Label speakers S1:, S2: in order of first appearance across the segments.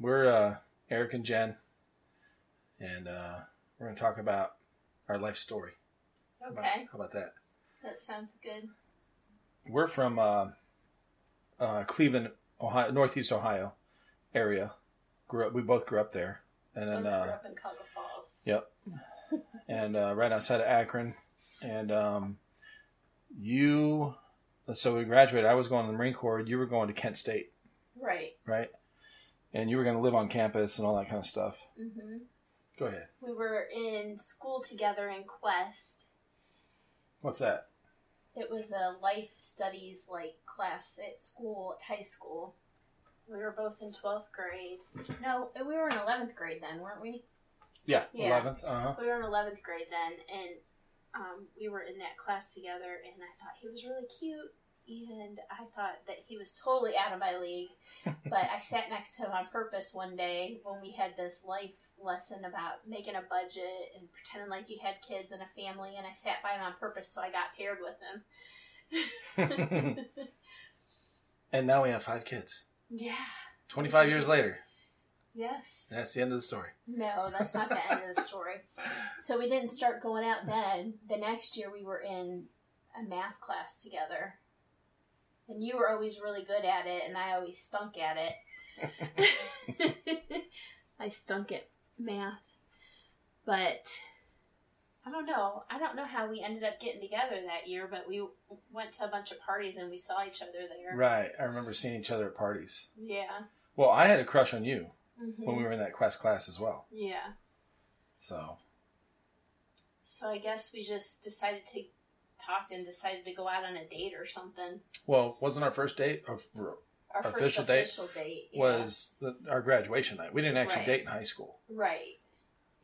S1: we're uh, Eric and Jen, and uh, we're going to talk about our life story. How about-
S2: Okay,
S1: How about that?
S2: that sounds good.
S1: We're from uh, uh, Cleveland, Ohio, Northeast Ohio area. Grew up. We both grew up there, and then
S2: Both grew
S1: uh,
S2: up in Cuyahoga Falls.
S1: yeah. and uh, right outside of Akron. And um, you, so we graduated. I was going to the Marine Corps. You were going to Kent State,
S2: Right.
S1: right? And you were going to live on campus and all that kind of stuff.
S2: hmm
S1: Go ahead.
S2: We were in school together in Quest.
S1: What's that?
S2: It was a life studies like class at school, at high school. We were both in 12th grade. No, we were in 11th grade then, weren't we?
S1: Yeah,
S2: Yeah.
S1: eleventh. Uh huh.
S2: We were in 11th grade then, and um, we were in that class together, and I thought he was really cute, and I thought that he was totally out of my league. but I sat next to him on purpose one day when we had this life lesson about making a budget and pretending like you had kids and a family, and I sat by him on purpose, so I got paired
S1: Uh-huh.
S2: with him.
S1: and now we have five kids.
S2: yeah.
S1: Twenty-five years later,
S2: Yes.
S1: and that's the end of the story.
S2: No, that's not the end of the story. So we didn't start going out then. The next year we were in a math class together. And you were always really good at it, and I always stunk at it. I stunk at math. But I don't know. I don't know how we ended up getting together that year, but we went to a bunch of parties and we saw each other there.
S1: Right. I remember seeing each other at parties.
S2: Yeah.
S1: Well, I had a crush on you
S2: hmm
S1: when we were in that quest class as well.
S2: yeah.
S1: So
S2: So I guess we just decided to talked and decided to go out on a date or something.
S1: Well, wasn't our first date of,
S2: Our
S1: Official
S2: first
S1: date
S2: official date yeah.
S1: was the, our graduation night. We didn't actually
S2: Right.
S1: date in high school.
S2: right.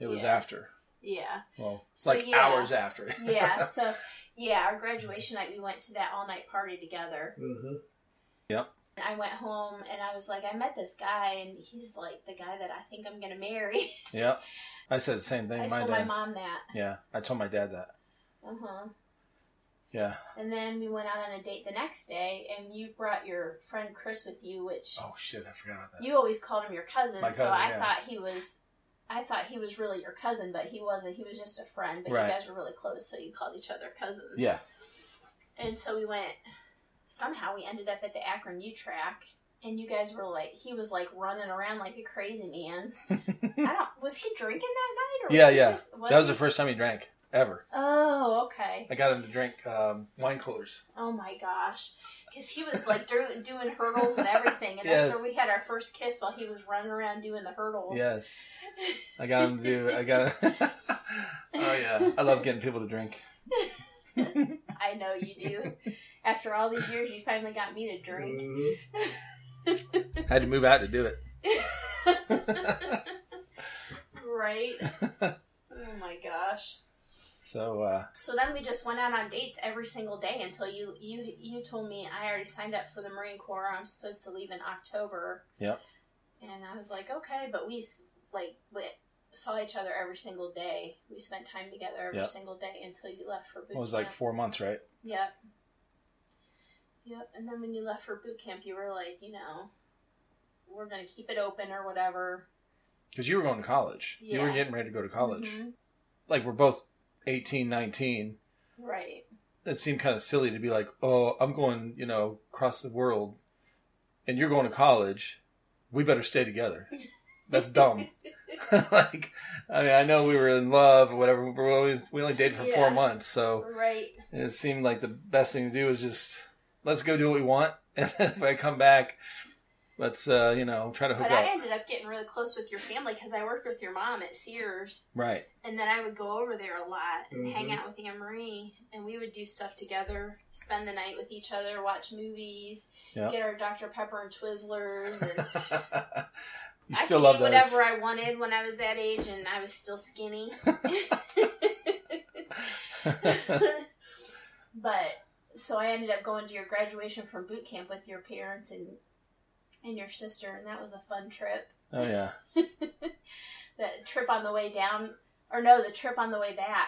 S1: It was
S2: Yeah.
S1: after.
S2: Yeah,
S1: Well, it's
S2: So,
S1: like
S2: yeah.
S1: hours after.
S2: yeah. so yeah, our graduation night we went to that all night party together.
S1: mm-hmm.
S2: And I went home and I was like, I met this guy and he's like the guy that I think I'm gonna marry.
S1: Yeah. I said the same thing.
S2: I
S1: my
S2: told
S1: dad.
S2: my mom that.
S1: Yeah, I told my dad that.
S2: Uh huh.
S1: Yeah.
S2: And then we went out on a date the next day, and you brought your friend Chris with you, which
S1: Oh shit! I forgot about that.
S2: You always called him your cousin,
S1: My
S2: so
S1: cousin,
S2: I
S1: yeah.
S2: thought he was. I thought he was really your cousin, but he wasn't. He was just a friend. But
S1: Right.
S2: you guys were really close, so you called each other cousins.
S1: yeah.
S2: And so we went. Somehow we ended up at the Akron U track, and you guys were like, he was like running around like a crazy man. I don't. Was he drinking that night? Or was
S1: Yeah,
S2: he
S1: yeah.
S2: Just,
S1: That was
S2: he-
S1: the first time he drank ever.
S2: Oh, okay.
S1: I got him to drink um, wine coolers.
S2: Oh my gosh, because he was like do, doing hurdles and everything, and that's
S1: Yes.
S2: where we had our first kiss while he was running around doing the hurdles.
S1: Yes. I got him to do. I got. Him. oh yeah. I love getting people to drink.
S2: I know you do. After all these years, you finally got me to drink.
S1: had to move out to do it.
S2: right? Oh my gosh.
S1: So uh,
S2: So then we just went out on dates every single day until you you you told me I already signed up for the Marine Corps. I'm supposed to leave in October.
S1: Yep.
S2: And I was like, okay, but we s- like we saw each other every single day. We spent time together every
S1: Yep.
S2: single day until you left for
S1: it
S2: boot
S1: was
S2: camp.
S1: like four months, right?
S2: Yep. Yep. And then when you left for boot camp, you were like, you know, we're gonna keep it open or whatever.
S1: Because you were going to college. You were
S2: Yeah.
S1: getting ready to go to college.
S2: Mhm.
S1: Like, we're both 18, 19.
S2: Right.
S1: It seemed kind of silly to be like, oh, I'm going, you know, across the world and you're going to college. We better stay together. That's dumb. like, I mean, I know we were in love or whatever, but we, always, we only dated for
S2: Yeah.
S1: four months. So
S2: Right.
S1: it seemed like the best thing to do is just let's go do what we want. And then if I come back, let's, uh, you know, try to hook
S2: But
S1: up.
S2: I ended up getting really close with your family because I worked with your mom at Sears,
S1: right.
S2: and then I would go over there a lot and hang
S1: Mhm.
S2: out with Anne Marie, and we would do stuff together, spend the night with each other, watch movies,
S1: Yep.
S2: get our Dr Pepper and Twizzlers, and
S1: you
S2: I
S1: still
S2: could
S1: love
S2: eat
S1: those.
S2: whatever I wanted when I was that age, and I was still skinny. but so I ended up going to your graduation from boot camp with your parents and and your sister, and that was a fun trip.
S1: oh yeah.
S2: The trip on the way down, or no, the trip on the way back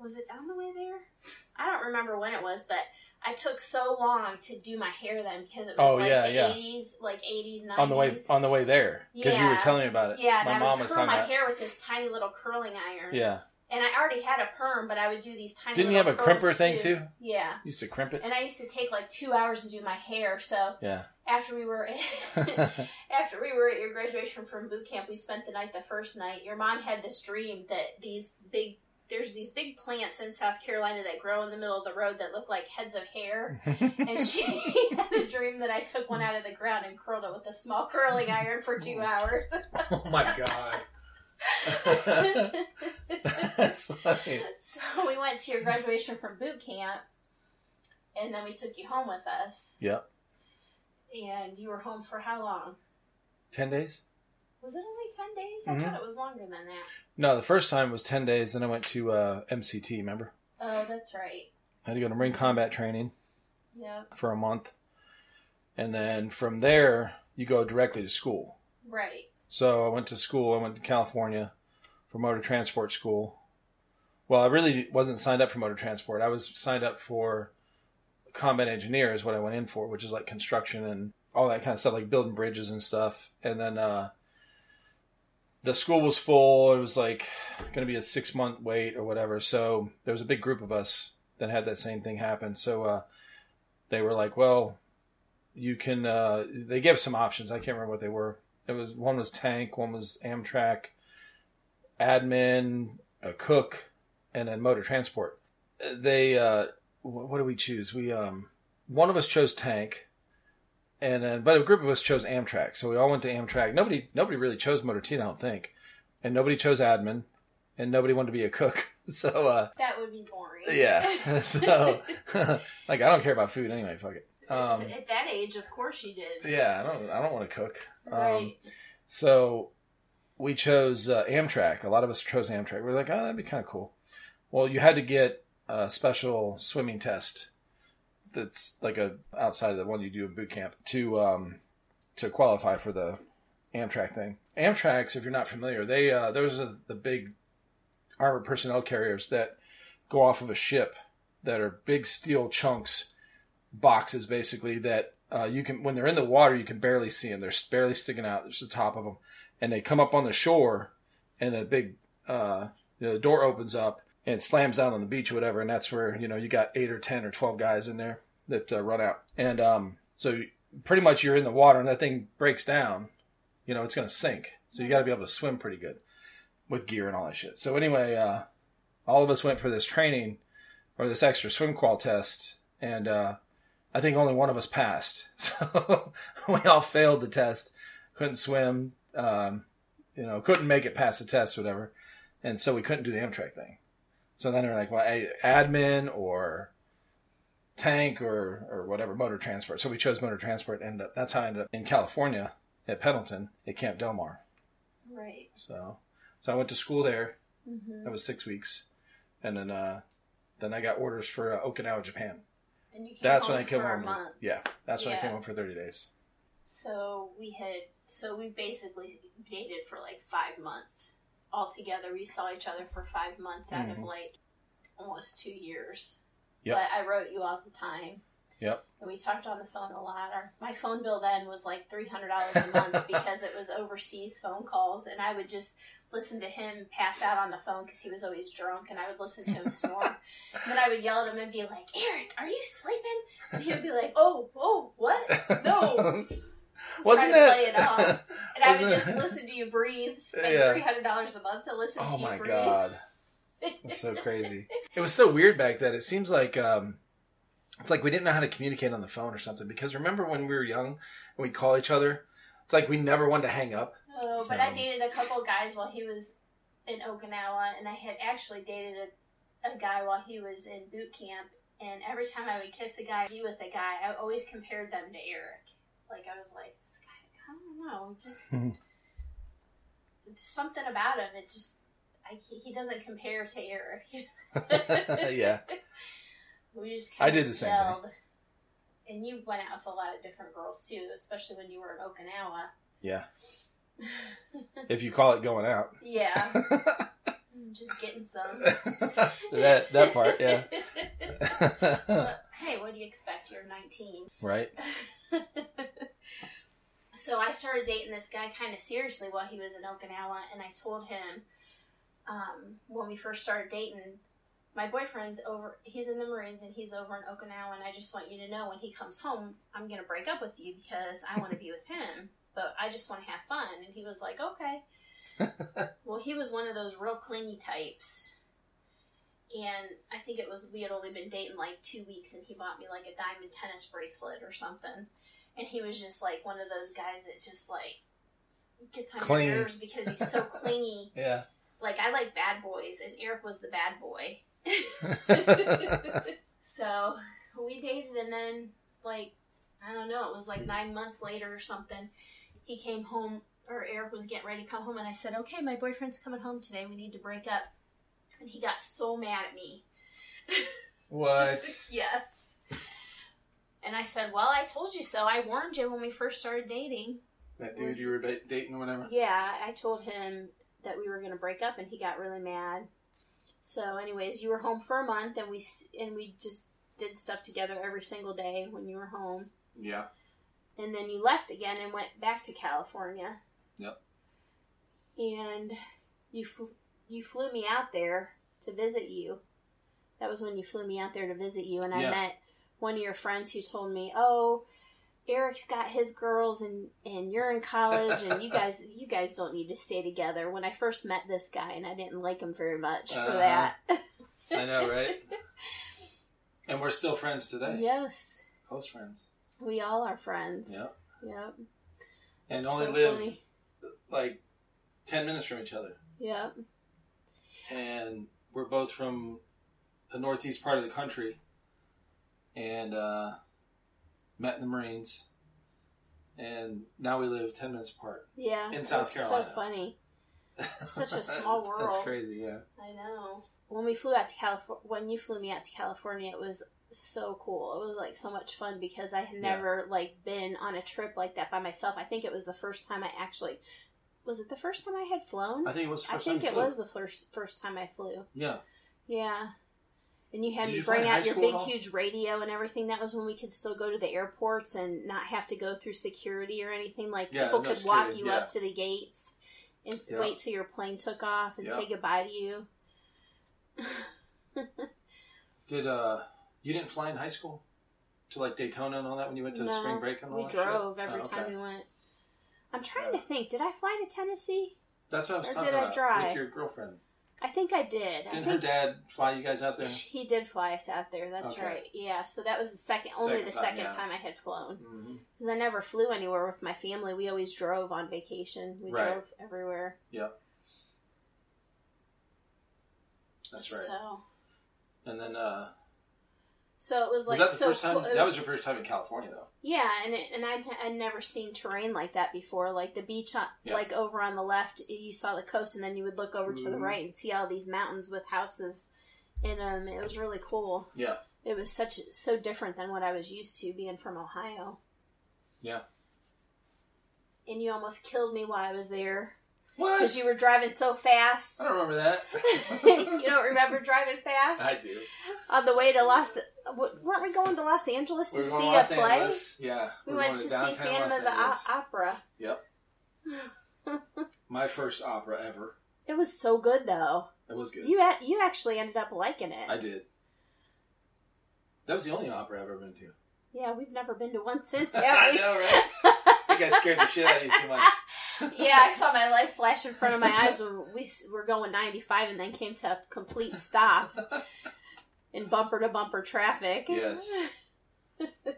S2: was it on the way there? I don't remember when it was, but I took so long to do my hair then because it was
S1: Oh,
S2: like
S1: yeah,
S2: the
S1: yeah.
S2: 80s, like 80s, 90s.
S1: on the way on the way there because you were
S2: Yeah.
S1: telling me about it.
S2: yeah, and
S1: my
S2: I
S1: mom
S2: would
S1: was
S2: curl
S1: talking
S2: my
S1: about.
S2: hair with this tiny little curling iron.
S1: Yeah,
S2: And I already had a perm, but I would do these tiny
S1: didn't you have
S2: little
S1: a crimper
S2: curls,
S1: thing too?
S2: Yeah.
S1: You used to crimp it.
S2: And I used to take like two hours to do my hair. So
S1: Yeah.
S2: after we were after we were at your graduation from boot camp, we spent the night the first night. Your mom had this dream that these big there's these big plants in South Carolina that grow in the middle of the road that look like heads of hair. And she had a dream that I took one out of the ground and curled it with a small curling iron for two hours.
S1: oh my god.
S2: so
S1: That's funny.
S2: we went to your graduation from boot camp and then we took you home with us.
S1: Yep.
S2: And you were home for how long?
S1: Ten days?
S2: Was it only 10 days? I
S1: Mhm.
S2: thought it was longer than that.
S1: No, the first time was ten days. Then I went to uh, MCT. Remember,
S2: Oh, that's right.
S1: I had to go to Marine combat training
S2: Yep.
S1: for a month, and then from there you go directly to school.
S2: Right.
S1: So I went to school. I went to California for motor transport school. Well, I really wasn't signed up for motor transport. I was signed up for combat engineer is what I went in for, which is like construction and all that kind of stuff, like building bridges and stuff. And then uh, the school was full. It was like going to be a six month wait or whatever. So there was a big group of us that had that same thing happen. So uh, they were like, "Well, you can." Uh, they gave us some options. I can't remember what they were it was one was tank, one was Amtrak, admin, a cook, and then motor transport. They uh, wh- what do we choose? We um, one of us chose tank, and then but a group of us chose Amtrak. So we all went to Amtrak. Nobody nobody really chose motor T, I don't think, and nobody chose admin, and nobody wanted to be a cook. So uh,
S2: That would be boring.
S1: yeah, so like I don't care about food anyway. Fuck it. Um,
S2: At that age, of course you did.
S1: yeah, I don't I don't want to cook. um,
S2: right.
S1: So we chose uh, Amtrak. A lot of us chose Amtrak. We are like, oh, that'd be kind of cool. Well, you had to get a special swimming test that's like a outside of the one you do in boot camp to um, to qualify for the Amtrak thing. Amtrak's, if you're not familiar, they uh, those are the big armored personnel carriers that go off of a ship that are big steel chunks, boxes basically that uh, you can when they're in the water you can barely see them. They're barely sticking out. There's the top of them, and they come up on the shore, and a big uh, you know, the door opens up and it slams down on the beach or whatever, and that's where you know you got eight or ten or twelve guys in there that uh, run out, and um, so pretty much you're in the water and that thing breaks down, you know it's gonna sink. So you got to be able to swim pretty good with gear and all that shit. So anyway, uh, all of us went for this training or this extra swim qual test, and uh, I think only one of us passed. So we all failed the test, couldn't swim, um, you know, couldn't make it past the test, whatever, and so we couldn't do the Amtrak thing. So then we're like, well, a- admin or tank or or whatever motor transport. So we chose motor transport. And ended up that's how I ended up in California at Pendleton at Camp Del Mar. um,
S2: Right.
S1: So so I went to school there
S2: hmm
S1: that was six weeks, and then uh, then I got orders for uh, Okinawa, Japan.
S2: And you came
S1: That's
S2: home
S1: when I came
S2: Oh, for
S1: home.
S2: a
S1: with-
S2: month.
S1: yeah, that's when I
S2: Yeah.
S1: came home for thirty days.
S2: So we had, so we basically dated for like five months altogether. We saw each other for five months out of
S1: Mhm.
S2: like almost two years.
S1: Yep.
S2: But I wrote you all the time.
S1: Yep.
S2: And we talked on the phone a lot. Our, my phone bill then was like three hundred dollars a month because it was overseas phone calls, and I would just listen to him pass out on the phone because he was always drunk, and I would listen to him snore. And then I would yell at him and be like, "Eric, are you sleeping?" And he would be like, "Oh, oh, what?" No.
S1: wasn't
S2: Try to
S1: it?
S2: play it off. And I would
S1: Wasn't
S2: just
S1: it-
S2: listen to you breathe. Spend
S1: Yeah.
S2: three hundred dollars a month to listen
S1: oh
S2: to you
S1: my
S2: breathe.
S1: god, it's so crazy. It was so weird back then. It seems like. Um, it's like we didn't know how to communicate on the phone or something because remember when we were young and we'd call each other? It's like we never wanted to hang up.
S2: Oh, but I
S1: So-
S2: dated a couple guys while he was in Okinawa, and I had actually dated a, a guy while he was in boot camp. And every time I would kiss a guy, be with a guy, I always compared them to Eric. Like I was like, this guy, I don't know, just
S1: Mhm.
S2: just something about him. It just, I, he- he doesn't compare to Eric.
S1: yeah.
S2: We just
S1: I
S2: kind
S1: did
S2: of
S1: the same
S2: gelled. And you went out with a lot of different girls too, especially when you were in Okinawa.
S1: Yeah. If you call it going out.
S2: Yeah. I'm just getting some.
S1: that that part, yeah.
S2: But, hey, what do you expect? You're 19.
S1: right.
S2: so I started dating this guy kind of seriously while he was in Okinawa, and I told him um, when we first started dating, my boyfriend's over. He's in the Marines and he's over in Okinawa, and I just want you to know when he comes home, I'm gonna break up with you because I want to be with him, but I just want to have fun. And he was like, okay. well, he was one of those real clingy types. And I think it was we had only been dating like two weeks, and he bought me like a diamond tennis bracelet or something and he was just like one of those guys that just like gets on
S1: Clingy.
S2: your nerves because he's so clingy.
S1: Yeah.
S2: Like I like bad boys, and Eric was the bad boy. so we dated, and then like I don't know, it was like nine months later or something. He came home, or Eric was getting ready to come home, and I said, "Okay, my boyfriend's coming home today. We need to break up." And he got so mad at me.
S1: what?
S2: yes. And I said, Well, I told you so. I warned you when we first started dating.
S1: That dude you were ba- dating or whatever.
S2: Yeah, I told him that we were going to break up, and he got really mad. So, anyways, you were home for a month, and we s- and we just did stuff together every single day when you were home.
S1: Yeah.
S2: And then you left again and went back to California.
S1: Yep.
S2: And you fl- you flew me out there to visit you. That was when you flew me out there to visit you, and I
S1: Yeah.
S2: met one of your friends who told me, "Oh, Eric's got his girls, and and you're in college, and you guys you guys don't need to stay together." When I first met this guy, and I didn't like him very much for
S1: Uh-huh.
S2: that.
S1: I know, right? and we're still friends today.
S2: yes,
S1: Close friends.
S2: we all are friends.
S1: Yeah.
S2: Yep.
S1: And
S2: It's
S1: only
S2: so
S1: live
S2: funny.
S1: like 10 minutes from each other.
S2: Yep.
S1: And we're both from the northeast part of the country. And uh, met in the Marines. And now we live 10 minutes apart.
S2: Yeah.
S1: In South
S2: it's
S1: Carolina.
S2: So funny. Such a small world.
S1: That's crazy, yeah.
S2: I know. When we flew out to California, when you flew me out to California, it was so cool. It was like so much fun because I had
S1: Yeah.
S2: never like been on a trip like that by myself. I think it was the first time I actually was it the first time I had flown.
S1: I think it was the
S2: I
S1: first
S2: think
S1: time
S2: it
S1: we flew.
S2: was the first first time I flew.
S1: Yeah.
S2: Yeah. And you had
S1: Did
S2: me
S1: you fly
S2: bring
S1: in high
S2: out your
S1: school at
S2: big,
S1: all?
S2: huge radio and everything. That was when we could still go to the airports and not have to go through security or anything. Like
S1: Yeah,
S2: people
S1: no
S2: could walk
S1: security,
S2: you
S1: yeah.
S2: up to the gates and s-
S1: Yeah.
S2: wait till your plane took off and
S1: Yeah.
S2: say goodbye to you.
S1: Did uh you didn't fly in high school to like Daytona and all that when you went to
S2: No,
S1: spring break and all
S2: we
S1: that
S2: drove
S1: shit?
S2: every
S1: Oh, okay.
S2: time we went. I'm trying to
S1: Yeah.
S2: think. Did I fly to Tennessee?
S1: That's what I was
S2: or
S1: talking
S2: did I
S1: about with
S2: drive?
S1: your girlfriend.
S2: I think I did.
S1: Didn't
S2: I
S1: her
S2: think
S1: dad fly you guys out there?
S2: sh- he did fly us out there. That's
S1: Okay.
S2: right. Yeah. So that was the second, only
S1: Second
S2: the
S1: time,
S2: second
S1: yeah.
S2: time I had flown.
S1: Mm-hmm.
S2: Because I never flew anywhere with my family. We always drove on vacation. We
S1: Right.
S2: drove everywhere.
S1: That's right.
S2: So,
S1: and then uh
S2: so it
S1: was
S2: was like
S1: that the
S2: so
S1: first time?
S2: cool. It
S1: that was your first time in California, though.
S2: yeah, and it, and I'd, I'd never seen terrain like that before. Like the beach, on,
S1: Yeah.
S2: like over on the left, you saw the coast, and then you would look over to the
S1: Mhm.
S2: right and see all these mountains with houses in them. It was really cool.
S1: Yeah.
S2: It was such so different than what I was used to being from Ohio.
S1: Yeah.
S2: And you almost killed me while I was there
S1: What?
S2: because you were driving so fast.
S1: I don't remember that.
S2: you don't remember driving fast
S1: I do.
S2: on the way to Los. w- Weren't we going to Los Angeles
S1: We were
S2: to see
S1: going to
S2: a
S1: Los
S2: play?
S1: Angeles. Yeah.
S2: We
S1: were
S2: went
S1: going
S2: to see
S1: downtown
S2: Phantom
S1: Los
S2: of the
S1: Angeles.
S2: o- Opera.
S1: My first opera ever.
S2: It was so good though.
S1: It was good.
S2: You a- you actually ended up liking it.
S1: I did. That was the only opera I've ever been to.
S2: Yeah, we've never been to one since,
S1: I
S2: have we?
S1: know, right? I think I scared the shit out of you too much.
S2: yeah, I saw my life flash in front of my eyes when we s- were going 95 and then came to a complete stop in bumper to bumper traffic.
S1: Yes.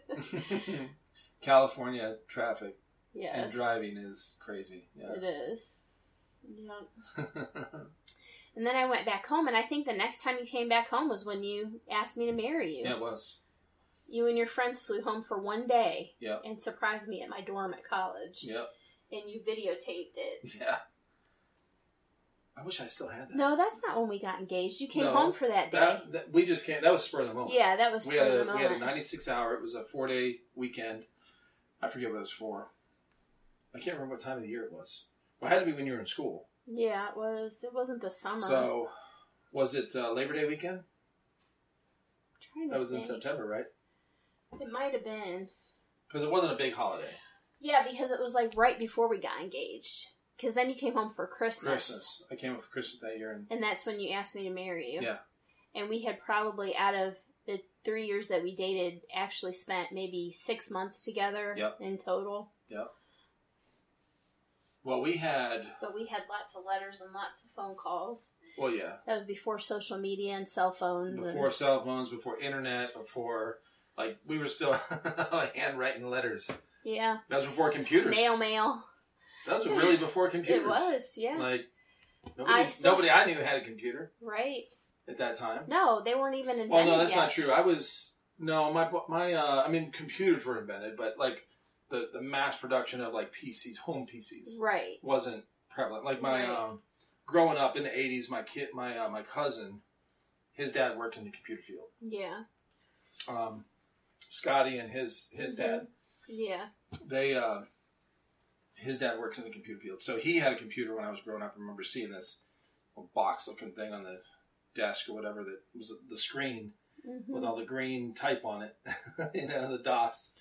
S1: California traffic
S2: yes.
S1: and driving is crazy.
S2: It
S1: Yeah.
S2: is. Yeah. And then I went back home, and I think the next time you came back home was when you asked me to marry you.
S1: yeah, it was.
S2: You and your friends flew home for one day
S1: Yeah.
S2: and surprised me at my dorm at college,
S1: Yep.
S2: and you videotaped it.
S1: Yeah. I wish I still had that.
S2: No, that's not when we got engaged. You came
S1: No,
S2: home for that day.
S1: That, that- we just can't. That was spur of the moment.
S2: yeah, that was
S1: We had
S2: spur of
S1: a
S2: the
S1: we had a
S2: moment.
S1: 96 hour. It was a four day weekend. I forget what it was for. I can't remember what time of the year it was. Well, it had to be when you were in school.
S2: Yeah, it was. It wasn't the summer.
S1: So, was it uh, Labor Day weekend?
S2: I'm trying to
S1: That was in
S2: think.
S1: September, right?
S2: It might have been.
S1: Because it wasn't a big holiday.
S2: Yeah, because it was like right before we got engaged. Because then you came home for Christmas.
S1: Christmas. I came up for Christmas that year, and
S2: And that's when you asked me to marry you.
S1: Yeah.
S2: And we had probably, out of the three years that we dated, actually spent maybe six months together
S1: Yep.
S2: in total.
S1: well, we had
S2: But we had lots of letters and lots of phone calls.
S1: well, yeah,
S2: That was before social media and cell phones.
S1: before cell phones, before internet, before like we were still handwriting letters.
S2: and, yeah.
S1: That was before computers.
S2: Snail mail.
S1: That was really before computers.
S2: It was, yeah.
S1: Like nobody,
S2: I still-
S1: nobody I knew had a computer
S2: right.
S1: at that time.
S2: No, they weren't even invented
S1: Well, no, that's
S2: yet.
S1: not true. I was no my my. Uh, I mean, computers were invented, but like the the mass production of like PCs, home PCs,
S2: Right.
S1: wasn't prevalent. Like my
S2: Right.
S1: um, growing up in the eighties, my kid, my uh, my cousin, his dad worked in the computer field.
S2: Yeah.
S1: Um, Scotty and his his
S2: Mhm.
S1: dad,
S2: Yeah.
S1: they uh, his dad worked in the computer field, so he had a computer when I was growing up. I remember seeing this little box looking thing on the desk or whatever that was the screen
S2: hmm
S1: with all the green type on it, you know, the DOS.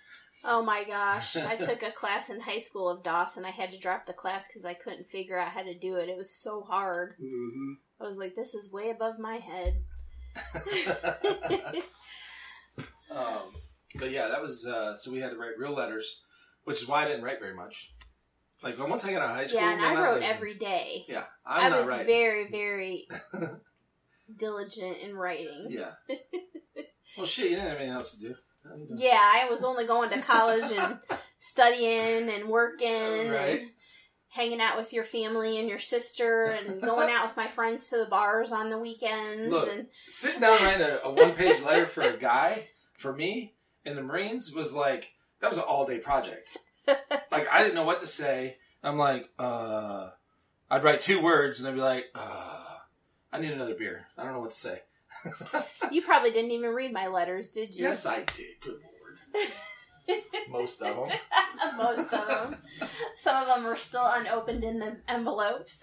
S2: Oh my gosh. I took a class in high school of DOS and I had to drop the class because I couldn't figure out how to do it. It was so hard.
S1: Mm-hmm.
S2: I was like, this is way above my head.
S1: um, but yeah, that was uh, so we had to write real letters, which is why I didn't write very much. Like when once I got out of high school,
S2: yeah, and
S1: man,
S2: I wrote
S1: was-
S2: every day.
S1: Yeah,
S2: i
S1: I'm not
S2: was
S1: right.
S2: very, very diligent in writing. Yeah.
S1: Yeah. well, shit, you didn't have anything else to do. No, you don't.
S2: I was only going to college and studying and working
S1: Right.
S2: and hanging out with your family and your sister and going out with my friends to the bars on the weekends
S1: Look,
S2: and
S1: Sitting down writing a, a one page letter for a guy for me in the Marines was like that was an all day project. Like I didn't know what to say. I'm like, uh, I'd write two words and I'd be like, uh, I need another beer. I don't know what to say.
S2: you probably didn't even read my letters, did you?
S1: Yes, I did. Good lord. Most of them.
S2: Most of them. Some of them are still unopened in the envelopes.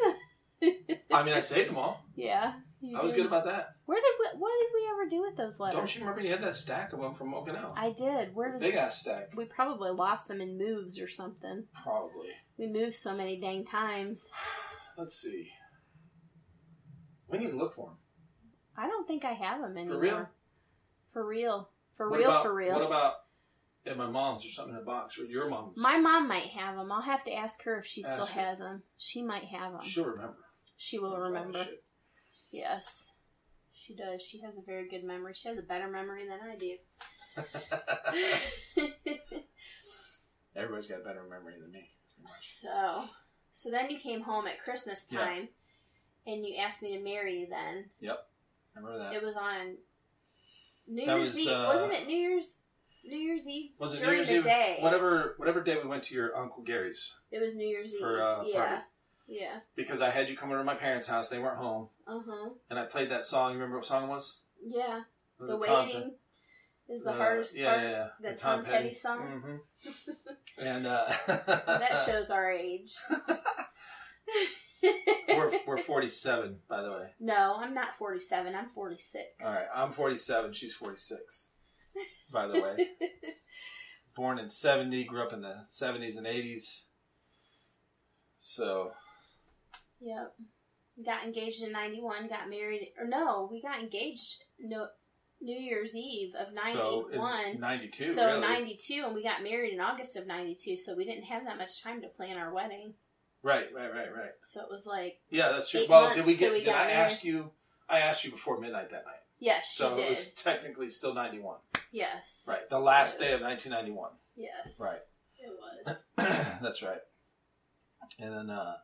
S1: I mean, I saved them all.
S2: yeah. you
S1: I was
S2: did.
S1: good about that.
S2: Where did we, what did we ever do with those letters?
S1: Don't you remember you had that stack of them from Okinawa?
S2: I did. Where did
S1: Big ass stack,
S2: we probably lost them in moves or something?
S1: probably.
S2: We moved so many dang times.
S1: Let's see. We need to look for them.
S2: I don't think I have them anymore.
S1: For real?
S2: For real. For
S1: What
S2: real.
S1: about-
S2: for real.
S1: What about at my mom's or something in a box or your mom's?
S2: My mom might have them. I'll have to ask her if she still
S1: Ask her.
S2: has them. She might have them.
S1: She'll remember.
S2: She will remember.
S1: Shit.
S2: Yes. She does. She has a very good memory. She has a better memory than I do.
S1: Everybody's got a better memory than me.
S2: so, so then you came home at Christmas
S1: Yeah.
S2: time and you asked me to marry you then.
S1: Remember that?
S2: It was on New
S1: That
S2: Year's
S1: was,
S2: Eve.
S1: uh,
S2: Wasn't it New Year's New Year's Eve?
S1: was it New
S2: during
S1: Year's
S2: the
S1: Eve?
S2: day.
S1: Whatever, whatever day we went to your uncle Gary's
S2: It was New Year's
S1: for
S2: Eve.
S1: uh,
S2: yeah.
S1: party
S2: Yeah.
S1: because I had you come over to my parents' house. They weren't home,
S2: Uh-huh.
S1: and I played that song. You remember what song it was?
S2: Yeah. The,
S1: Tom
S2: waiting is the
S1: uh,
S2: hardest
S1: yeah,
S2: part.
S1: Yeah, yeah.
S2: the
S1: The
S2: Tom Petty song?
S1: Mhm. and uh,
S2: That shows our age.
S1: we're we're forty seven, by the way.
S2: no, I'm not 47. I'm 46.
S1: All right, I'm 47. She's 46. By the way, born in 70, grew up in the 70s and 80s. So
S2: Yep. Got engaged in 91, got married. Or no, we got engaged no New Year's Eve of
S1: so is
S2: 91.
S1: 92.
S2: So,
S1: really.
S2: 92 and we got married in August of 92, so we didn't have that much time to plan our wedding.
S1: Right, right, right, right.
S2: So it was like,
S1: Yeah, that's true.
S2: Eight
S1: well,
S2: months
S1: did we
S2: till
S1: get?
S2: we
S1: did
S2: got
S1: I ask you? I asked you before midnight that night.
S2: yes, she
S1: So
S2: did.
S1: it was technically still 91.
S2: yes.
S1: Right, the last day
S2: Yes.
S1: of 1991.
S2: Yes.
S1: Right.
S2: It was.
S1: that's right. And then, uh,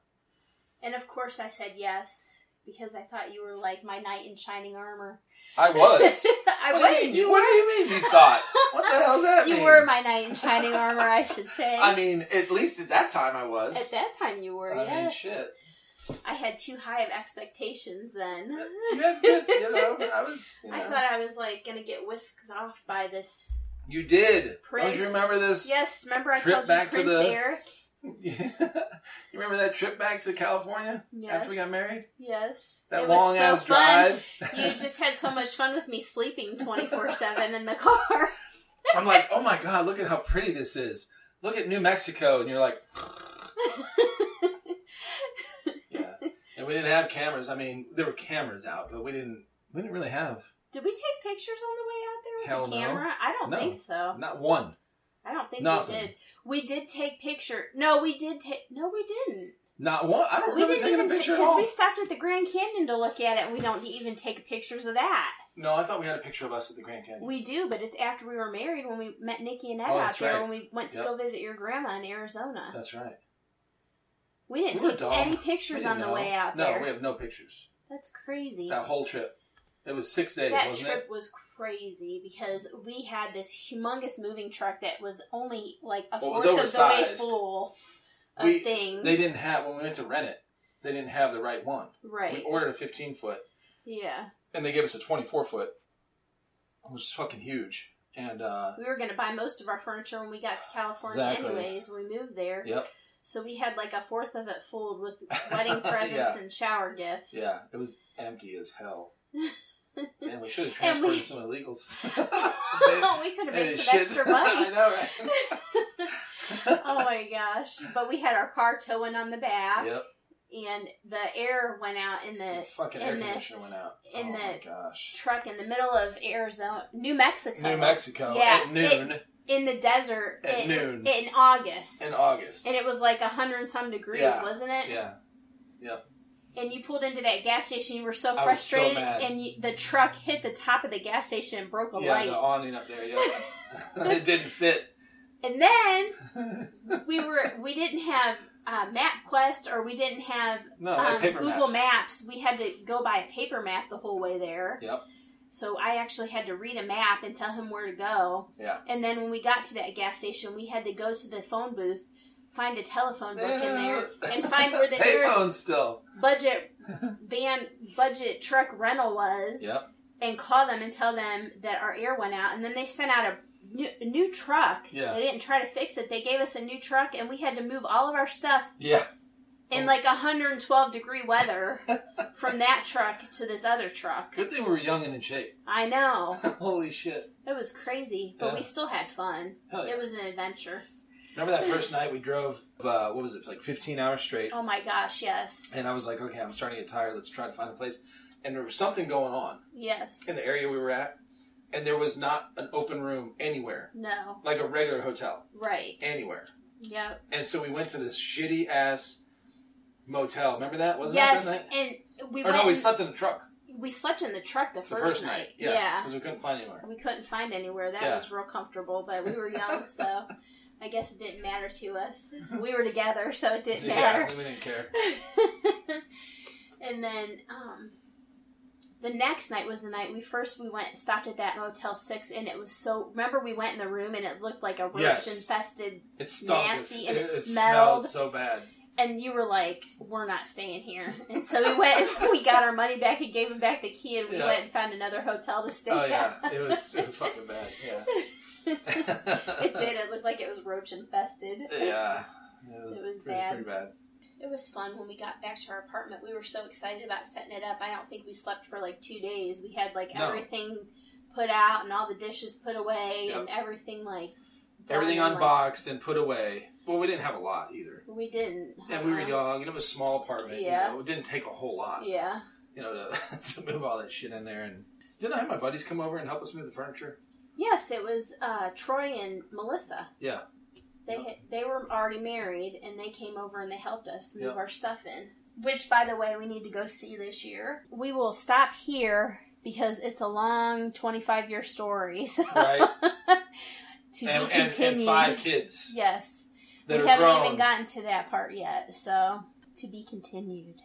S2: and of course I said yes because I thought you were like my knight in shining armor.
S1: I was.
S2: I
S1: what
S2: was.
S1: do you mean?
S2: You
S1: what
S2: were.
S1: do you mean you thought? What the hell's that
S2: You
S1: mean?
S2: were my knight in shining armor, I should say.
S1: I mean, at least at that time I was.
S2: At that time, you were.
S1: I mean,
S2: yes.
S1: shit.
S2: I had too high of expectations then.
S1: You had good, you know, I was. You, know.
S2: I thought I was like gonna get whisked off by this.
S1: you did. Don't
S2: Prince.
S1: you remember this?
S2: Yes, remember I
S1: Trip
S2: called
S1: back to
S2: you Prince
S1: the-
S2: Eric?
S1: Yeah. you remember that trip back to California
S2: Yes.
S1: after we got married?
S2: Yes.
S1: That
S2: It was
S1: long
S2: so
S1: ass
S2: fun.
S1: drive.
S2: You just had so much fun with me sleeping 24 7 in the car.
S1: I'm like, oh my god, look at how pretty this is. Look at New Mexico, and you're like, yeah. And we didn't have cameras. I mean, there were cameras out, but we didn't. We didn't really have
S2: Did we take pictures on the way out there
S1: Hell
S2: with
S1: no.
S2: the camera? I don't
S1: No.
S2: think so.
S1: not one.
S2: I don't think
S1: Nothing.
S2: we did. We did take picture. No, we did take. No, we didn't.
S1: Not one. I don't
S2: we
S1: remember
S2: didn't
S1: taking a
S2: even take
S1: picture at
S2: because
S1: all.
S2: we stopped at the Grand Canyon to look at it. and We don't even take pictures of that.
S1: No, I thought we had a picture of us at the Grand Canyon.
S2: We do, but it's after we were married when we met Nikki and Ed
S1: Oh,
S2: out
S1: that's
S2: there
S1: right.
S2: when we went to
S1: Yep.
S2: go visit your grandma in Arizona.
S1: That's right.
S2: We didn't
S1: We were
S2: take
S1: dumb.
S2: any
S1: We
S2: pictures
S1: didn't
S2: on the
S1: know.
S2: way out
S1: no,
S2: there.
S1: we have no pictures.
S2: That's crazy.
S1: That whole trip. It was six days,
S2: that
S1: wasn't
S2: trip was crazy because we had this humongous moving truck that was only like a
S1: Well, it was
S2: fourth of the way
S1: oversized.
S2: full of
S1: We-
S2: things.
S1: it? They didn't have when we went to rent it. They didn't have the right one. We
S2: Right.
S1: ordered a 15 foot,
S2: Yeah.
S1: and they gave us a 24 foot, which is fucking huge. And uh,
S2: We were going to buy most of our furniture when we got to California,
S1: Exactly.
S2: anyways, when we moved there.
S1: yep,
S2: So we had like a fourth of it full with wedding presents
S1: Yeah.
S2: and shower gifts.
S1: yeah, it was empty as hell. Man, we should have
S2: And
S1: transported
S2: we-
S1: some illegals.
S2: we could have
S1: They
S2: made
S1: did
S2: some extra
S1: I
S2: money.
S1: know, right?
S2: oh my gosh. But we had our car towing on the back
S1: yep,
S2: and the air went out in
S1: the
S2: the
S1: fucking air
S2: in the-
S1: conditioner went out.
S2: in
S1: oh my
S2: the-
S1: gosh.
S2: truck in the middle of Arizona, New Mexico.
S1: New Mexico
S2: Yeah,
S1: at noon
S2: in the desert
S1: At
S2: in,
S1: noon.
S2: in August.
S1: in August.
S2: and it was like a hundred and some degrees,
S1: Yeah.
S2: wasn't it?
S1: yeah,
S2: And you pulled into that gas station. You were so
S1: was so
S2: frustrated,
S1: mad.
S2: and you, the truck hit the top of the gas station and broke a
S1: yeah,
S2: light.
S1: the awning up there. Yeah, it didn't fit.
S2: And then we were we didn't have uh, MapQuest or we didn't have
S1: no, they had
S2: um,
S1: Oh, paper
S2: Google
S1: maps.
S2: Maps. We had to go by a paper map the whole way there.
S1: Yep.
S2: So I actually had to read a map and tell him where to go.
S1: Yeah.
S2: And then when we got to that gas station, we had to go to the phone booth, find a telephone book in there, and find where the nearest
S1: payphone still.
S2: budget van, budget truck rental was,
S1: Yep.
S2: and call them and tell them that our air went out. And then they sent out a new, a new truck.
S1: Yeah.
S2: They didn't try to fix it. They gave us a new truck, and we had to move all of our stuff
S1: Yeah.
S2: in
S1: Oh.
S2: like 112 degree weather from that truck to this other truck.
S1: Good thing we were young and in shape.
S2: I know.
S1: Holy shit.
S2: It was crazy, but
S1: Yeah.
S2: we still had fun.
S1: Hell yeah.
S2: It was an adventure.
S1: Remember that first night we drove, uh, what was it, like 15 hours straight?
S2: Oh my gosh, yes.
S1: And I was like, okay, I'm starting to get tired. Let's try to find a place. And there was something going on
S2: Yes.
S1: in the area we were at. And there was not an open room anywhere,
S2: No.
S1: like a regular hotel,
S2: Right.
S1: anywhere.
S2: Yep.
S1: And so we went to this shitty ass motel. Remember that? Wasn't
S2: yes,
S1: that that night?
S2: and we
S1: or
S2: went.
S1: no, we
S2: and-
S1: slept in a truck
S2: we slept in the truck the
S1: the
S2: first, night.
S1: Yeah.
S2: Yeah.
S1: Because we couldn't find anywhere.
S2: We couldn't find anywhere. That
S1: Yeah.
S2: was real comfortable, but we were young, so I guess it didn't matter to us. We were together, so it didn't matter.
S1: Yeah, we didn't care.
S2: and then um, the next night was the night we first we went stopped at that Motel Six, and it was so. Remember, we went in the room, and it looked like a roach
S1: Yes.
S2: infested.
S1: It stunk.
S2: Nasty and it smelled.
S1: smelled so bad.
S2: And you were like, "We're not staying here." And so we went. we got our money back and gave him back the key, and we
S1: Yeah.
S2: went and found another hotel to stay
S1: Oh
S2: at.
S1: yeah, it was it was fucking bad. Yeah.
S2: It did. It looked like it was roach infested.
S1: Yeah. It was,
S2: It was
S1: pretty-
S2: bad.
S1: pretty bad.
S2: It was fun when we got back to our apartment. We were so excited about setting it up. I don't think we slept for like two days. We had like
S1: No.
S2: everything put out and all the dishes put away
S1: Yep.
S2: and everything like done
S1: Everything
S2: and, like-
S1: unboxed and put away. Well, we didn't have a lot either.
S2: we didn't.
S1: And we were
S2: huh?
S1: young, and it was a small apartment.
S2: Uh-huh. Yeah.
S1: You know, it didn't take a whole lot,
S2: Yeah.
S1: you know, to, to move all that shit in there. And didn't I have my buddies come over and help us move the furniture?
S2: Yes, it was uh, Troy and Melissa.
S1: Yeah.
S2: They had, they were already married and they came over and they helped us move
S1: Yep.
S2: our stuff in. Which, by the way, we need to go see this year. We will stop here because it's a long 25 year story. So
S1: Right.
S2: to
S1: and,
S2: be
S1: and,
S2: continued.
S1: and five kids
S2: Yes.
S1: that
S2: we
S1: are
S2: haven't
S1: grown.
S2: even gotten to that part yet, so to be continued.